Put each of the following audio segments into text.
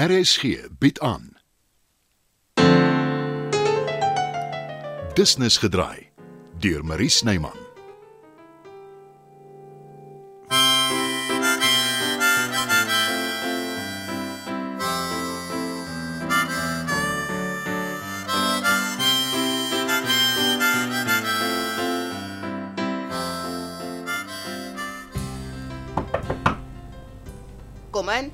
RSG bied aan. Business gedraai deur Marie Snyman. Kom in.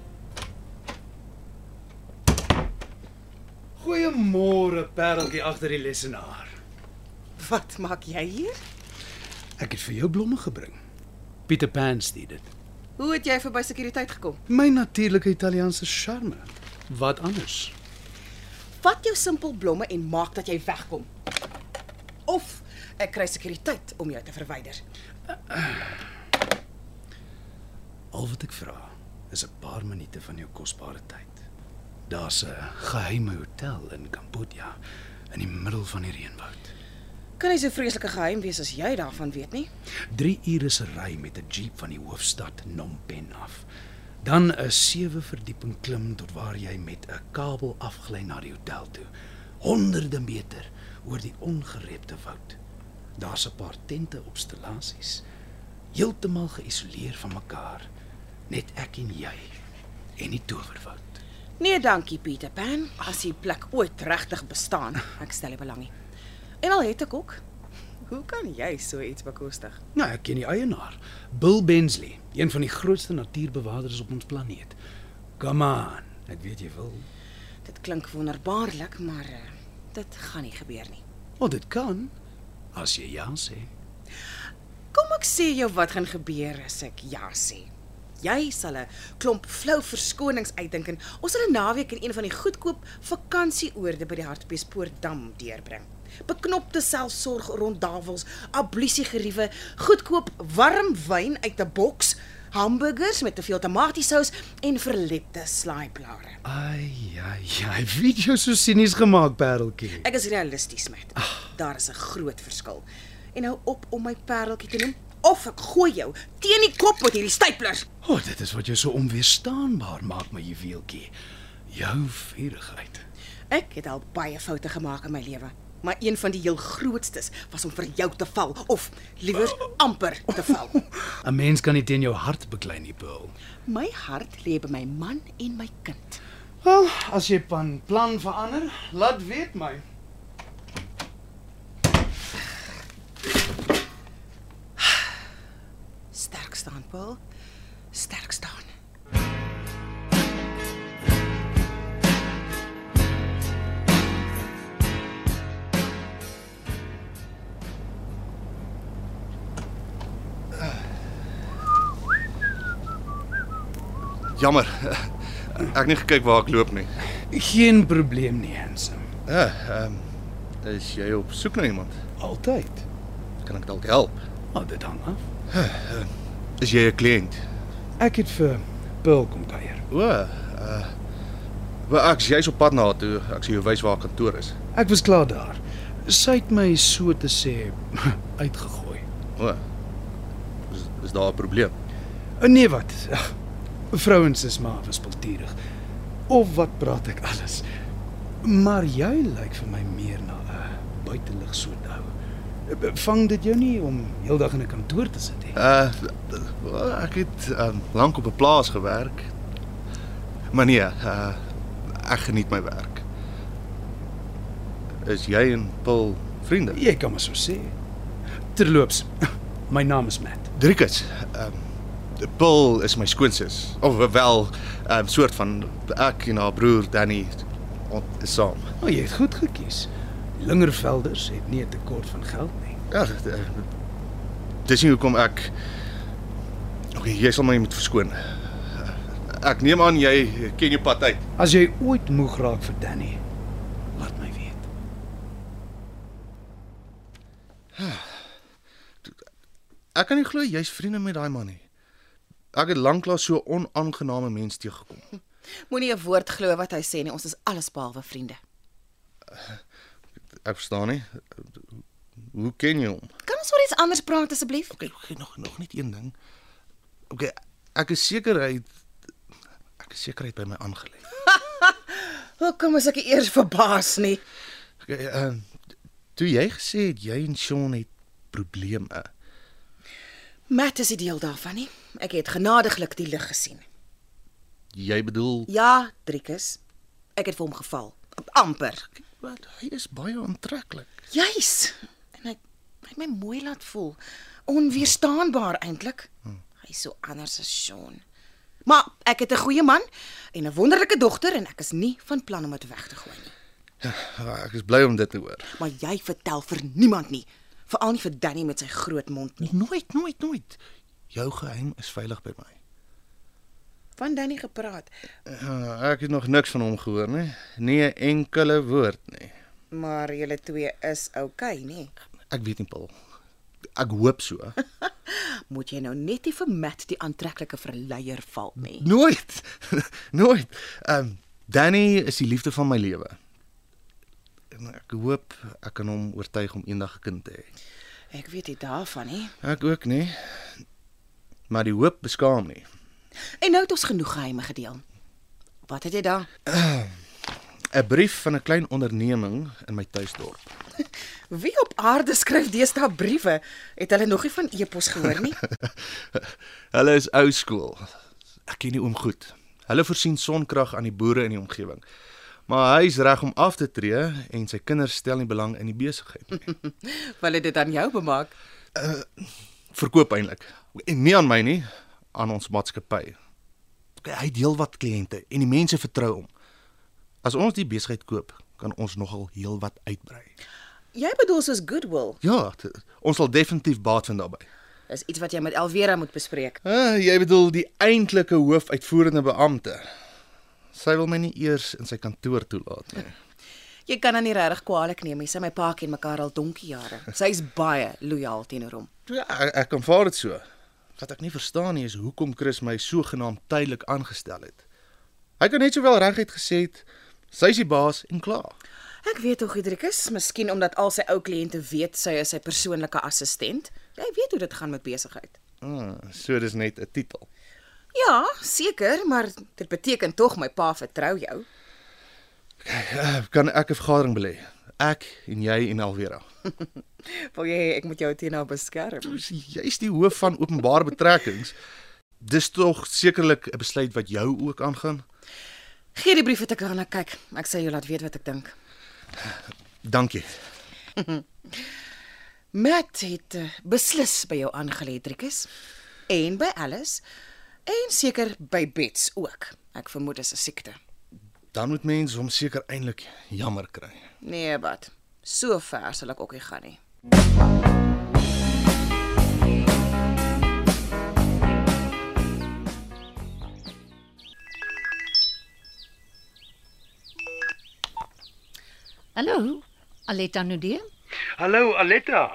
Goeiemôre Pareltjie agter die lesenaar. Wat maak jy hier? Ek het vir jou blomme gebring. Pieter Pan stuur dit. Hoe het jy verby sekuriteit gekom? My natuurlike Italiaanse charme. Wat anders? Vat jou simpel blomme en maak dat jy wegkom. Of ek kry sekuriteit om jou te verwyder. Al wat ek vra is 'n paar minute van jou kosbare tyd. Daar's 'n geheime hotel in Kambodja in die middel van die reënwoud. Kan hy so vreeslike geheim wees as jy daarvan weet nie? 3 ure se ry met 'n jeep van die hoofstad Phnom Penh af. Dan 'n sewe verdieping klim tot waar jy met 'n kabel afgly na die hotel toe. Honderde meter oor die ongerepte woud. Daar's 'n paar tente op stellasies, heeltemal geïsoleer van mekaar, net ek en jy en die towerwoud. Nee, dankie Pieter Pan. As die plek ooit regtig bestaan, ek stel nie belang nie. En al het ek ook. Hoe kan jy so iets bekostig? Nou, ek ken die eienaar, Bill Bensley, een van die grootste natuurbewaarders op ons planeet. Come on, ek weet jy wil. Dit klink wonderbaarlik, maar uh, dit gaan nie gebeur nie. Want Oh, dit kan as jy ja sê. Kom ek sê jou wat gaan gebeur as ek ja sê. Jy sal 'n klomp flou verskonings uitdink en ons sal 'n naweek in een van die goedkoop vakansieoorde by die Hartbeespoortdam deurbring. Beknopte selfsorg ronddavels, ablisiegeriewe, goedkoop warm wyn uit 'n boks, hamburgers met te veel tomatiesous en verlepte slaaiblare. Ai ja ja, hy weet jou so sinies gemaak, Pareltjie. Ek is realisties met. Daar is 'n groot verskil. En hou op om my pareltjie te noem of ek gooi jou teen die kop met hierdie stapler. O, oh, dit is wat jou so onweerstaanbaar maak, my juweeltjie. Jou vurigheid. Ek het al baie foute gemaak in my lewe, maar een van die heel grootstes was om vir jou te val of liewer amper te val. 'n Mens kan nie teen jou hart beklei nie, Pearl. My hart lê by my man en my kind. Wel, as jy van plan verander, laat weet my. Sterk staan, Paul. Sterk staan. Jammer. Ek het nie gekyk waar ek loop nie. Geen probleem nie, Hansen. Ja, ehm is jy op soek na iemand? Altyd. Kan ek dalk help? Maar oh, dit hang af. Is jy 'n kliënt? Ek het vir Pearl kom kuier. O, uh Wel ek jy's op pad na haar toe. Ek sê jou wys waar haar kantoor is. Ek was klaar daar. Sy het my so te sê uitgegooi. O. Is, is daar 'n probleem? Eh, Nee wat? Ag, Vrouens is maar verspiltierig. Of wat praat ek alles? Maar jy lyk vir my meer na eh, 'n buitelug soetou. nou. Eh, Vang dit jou nie om heeldag in 'n kantoor te sit nie. Uh wel, ek het um, lank op 'n plaas gewerk. Maar nee, uh ek geniet my werk. Is jy en Paul vriende? Jy kan maar so sê. Terloops, my naam is Matt. Driekus. Ehm um, Paul is my skoonsis of wel 'n um, soort van ek en haar broer Danny ont- is saam. O, oh, jy het goed gekies. Lingervelders het nie 'n tekort van geld nie. Ja, dit- eh, dis nie hoekom ek Okay, jy sal my moet verskoon. Ek neem aan jy ken jou pad uit. As jy ooit moeg raak vir Danny, laat my weet. Ek kan nie glo jy's vriende met daai man nie. Ek het lanklaas so 'n onaangename mens teëgekom. Moenie 'n woord glo wat hy sê nie. Ons is alles behalwe vriende. Ek verstaan nie. Hoe ken jy hom? Kan ons oor iets anders praat asseblief? Okay, okay, nog nog net een ding. Okay, ek is seker hy het- ek is seker hy het by my aangelê. Hoekom is ek eers verbaas nie? Ehm toe jy gesê het jy en Sean het probleme. Matt is die deel daarvan nie. Ek het genadiglik die lig gesien. Jy bedoel Ja, Driekus. Ek het vir hom geval. Amper. wat? Hy is baie aantreklik. Juis. En hy hy het my mooi laat voel. Onweerstaanbaar eintlik. Hy's so anders as Sean. Maar ek het 'n goeie man en 'n wonderlike dogter en ek is nie van plan om dit weg te gooi nie. Ah, Ek is bly om dit te hoor. Maar jy vertel vir niemand nie, veral nie vir Danny met sy groot mond nie. Nooit, nooit, nooit. Jou geheim is veilig by my. Van Danny gepraat, Uh, ek het nog niks van hom gehoor nie. Nie 'n enkele woord nee. nie. maar julle twee is okay, nê? Ek weet nie, Paul. Ek hoop so. Moet jy nou net nie vir Matt die aantreklike verleier val nie. Nooit. Nooit. Ehm um, Danny is die liefde van my lewe. En ek hoop ek kan hom oortuig om eendag 'n kind te hê. Ek weet nie daarvan nie. Ek ook nie. Maar die hoop beskaam nie. En nou het ons genoeg geheime gedeel. Wat het jy daar? 'n Brief van 'n klein onderneming in my tuisdorp. Wie op aarde skryf deesdae briewe? Het hulle nog nie van e-pos gehoor nie? Hulle is ou skool. Ek ken die oom goed. Hulle voorsien sonkrag aan die boere in die omgewing. Maar hy is reg om af te tree en sy kinders stel nie belang in die besigheid nie. Wil dit aan jou bemaak? verkoop eintlik. En nie aan my nie, aan ons maatskappy. Hy deel wat kliënte en die mense vertrou hom. As ons die besigheid koop, kan ons nogal heelwat uitbrei. Jy bedoel soos goodwill. Ja, t- ons sal definitief baat vind daarbey. Dis iets wat jy met Elvera moet bespreek. Ah, jy bedoel die eintlike hoofuitvoerende beampte. Sy wil my nie eers in sy kantoor toelaat nie. Jy kan aan nie regtig kwaadlik neem nie. Sy en my pa ken mekaar al donkie jare. Sy's baie lojaal teenoor hom. Ja, ek, ek aanvaar dit so. Wat ek nie verstaan nie is hoekom Chris my sogenaamd tydelik aangestel het. Hy kan net sowel reguit gesê het sy's die baas en klaar. Ek weet tog Hendrikus, miskien omdat al sy ou kliënte weet sy is sy persoonlike assistent. Jy weet hoe dit gaan met besigheid. Ah, so dis net 'n titel. Ja, seker, maar dit beteken tog my pa vertrou jou. Eh, Kan ek 'n vergadering belê? Ek en jy en Alvera. Wil jy hê ek moet jou teen haar beskerm? Dis- Jy's die hoof van openbare betrekkings. Dis tog sekerlik 'n besluit wat jou ook aangaan. Gee die brief wat ek daarna kyk. Ek sal jou laat weet wat ek dink. Dankie. Matt het eh, beslis by jou aangelê, Driekus. En by Alice en seker by Bets ook. Ek vermoed dis 'n siekte. Dan moet mens hom seker eintlik jammer kry. Nee, wat? So ver sal ek ook nie gaan nie. Hallo, Aletta Nudee. Hallo Aletta.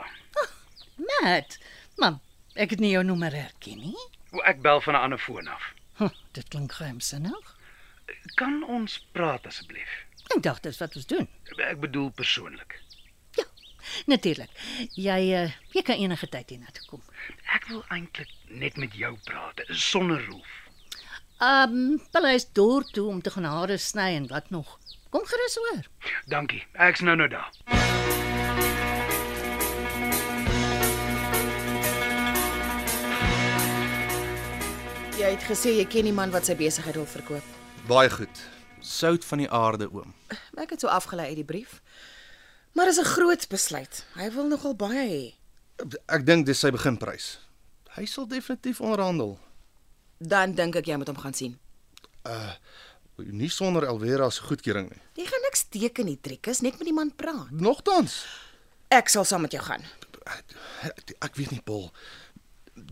Matt, mam, ek het nie jou nommer herken nie. O, Ek bel van 'n ander foon af. Huh, dit klink geheimsinnig. Kan ons praat asseblief? Ek dink dit is wat ons doen. Ek bedoel persoonlik. Ja, natuurlik. Jy eh, jy kan enige tyd hiernatoe kom. Ek wil eintlik net met jou praat sonder Rolf. Um, hulle is deur toe om te gaan hare sny en wat nog. Kom gerus oor. Dankie. Ek's nou nou daar. Jy het gesê jy ken die man wat sy besigheid wil verkoop. Baie goed. Sout van die aarde, oom. Ek het so afgelei uit die brief. Maar dis 'n groot besluit. Hy wil nogal baie hê. Ek dink dis sy beginprys. Hy sal definitief onderhandel. Dan dink ek jy moet hom gaan sien. Nie sonder Alvera se goedkeuring nie. Jy gaan niks teken nie, Driekus, net met die man praat. Nogtans. Ek sal saam met jou gaan. Ek weet nie, Paul.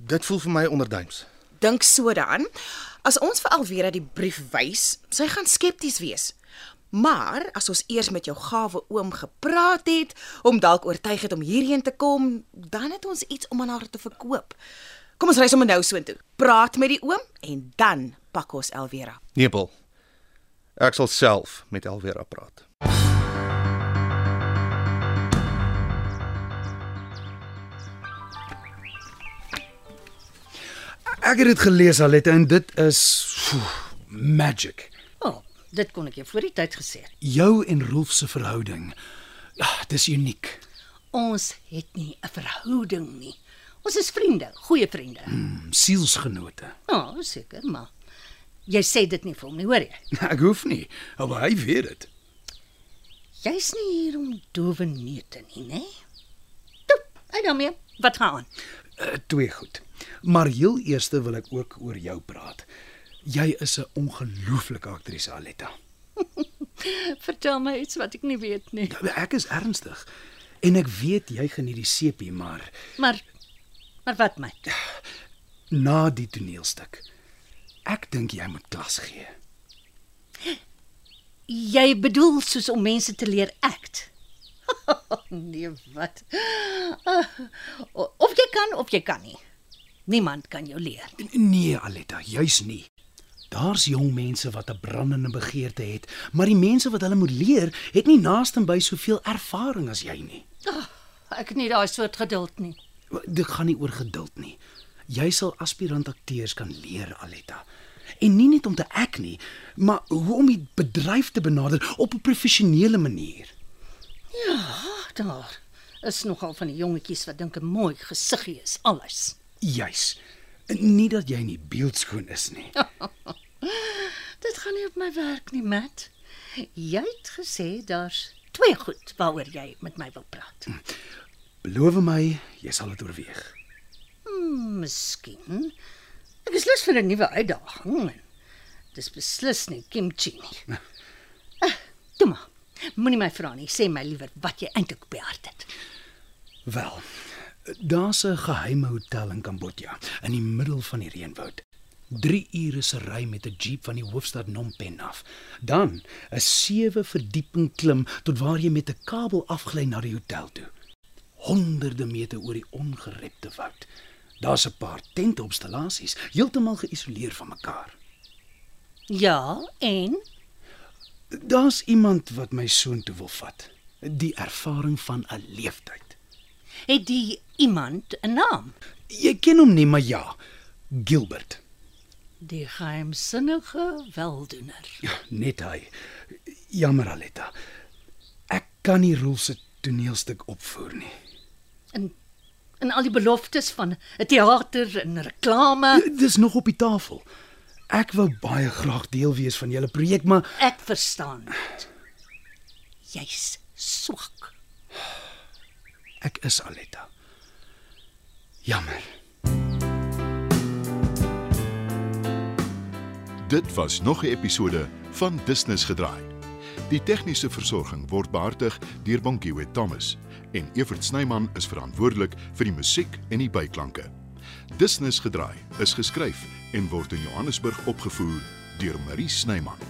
Dit voel vir my onderduims. Dink so daaraan. As ons vir Alvera die brief wys, sy gaan skepties wees. Maar as ons eers met jou gawe oom gepraat het, hom dalk oortuig het om hierheen te kom, dan het ons iets om aan haar te verkoop. Kom ons ry sommer nou soontoe. Praat met die oom en dan pak ons Alvera. Nee, Paul. Ek sal self met Alvera praat. Ek het dit gelees Aletta en dit is phew, magic. O, oh, Dit kon ek jou voor die tyd gesê het. Jou en Rolf se verhouding. Ah, dis uniek. Ons het nie 'n verhouding nie. Ons is vriende, goeie vriende. Mm, Sielsgenote. Ja, oh, seker, maar jy sê dit nie vir hom nie, hoor jy? Ek hoef nie, maar hy weet dit. Jy's nie hier om dowe neute nie, né? Toe, uit daarmee. Wat gaan aan? Uh, twee goed. Maar heel eers wil ek ook oor jou praat. Jy is 'n ongelooflike aktrise, Aletta. Vertel my iets wat ek nie weet nie. Ja, Ek is ernstig. En ek weet jy geniet die seepie, maar Maar maar wat my? na die toneelstuk. Ek dink jy moet klas gee. Jy bedoel soos om mense te leer act. nee, wat? Ah, o- Of jy kan of jy kan nie. Niemand kan jou leer. N- Nee, Aletta, juis nie. Daar's jong mense wat 'n brandende begeerte het, maar die mense wat hulle moet leer, het nie naaste by soveel ervaring as jy nie. Ek het nie daai soort geduld nie. Maar Dit gaan nie oor geduld nie. Jy sal aspirant akteurs kan leer, Aletta. En nie net om te ek nie, maar hoe om die bedryf te benader op 'n professionele manier. Ag, daar is nogal van die jongetjies wat dink 'n mooi gesiggie is alles. Juis. Nie dat jy nie beeldskoon is nie. Dit gaan nie op my werk nie, Matt. Jy het gesê daar's twee goed waaroor jy met my wil praat. Beloof my, jy sal dit oorweeg. Hmm, miskien. Ek is lus vir 'n nuwe uitdaging. en Dis beslis nie kimchi nie. Ah, Toe maar. Moenie my vra nie. Sê my liewer wat jy eintlik op die hart het. Wel, daar's 'n geheime hotel in Kambodja, in die middel van die reënwoud. 3 ure se ry met 'n jeep van die hoofstad Phnom Penh af. Dan 'n sewe verdieping klim tot waar jy met 'n kabel afgly na die hotel toe. Honderde meter oor die ongerepte woud. Daar's 'n paar tentopstallasies, heeltemal geïsoleer van mekaar. Ja, en Daar's iemand wat my soontoe wil vat. Die ervaring van 'n leeftyd. het die iemand 'n naam? Jy ken hom nie, maar ja, Gilbert. Die geheimsinnige weldoener. Ja, net hy. Jammer Aletta. Ek kan nie Roel se toneelstuk opvoer nie. En en al die beloftes van 'n teater en reklame. Dis nog op die tafel. Ek wou baie graag deel wees van julle projek, maar Ek verstaan. dit. Jy's swak. ek is Aletta. Jammer. Dit was nog 'n episode van Business gedraai. Die tegniese versorging word behartig deur Bongiwet Thomas en Evert Snyman is verantwoordelik vir die musiek en die byklanke. Business gedraai is geskryf en word in Johannesburg opgevoer deur Marie Snyman.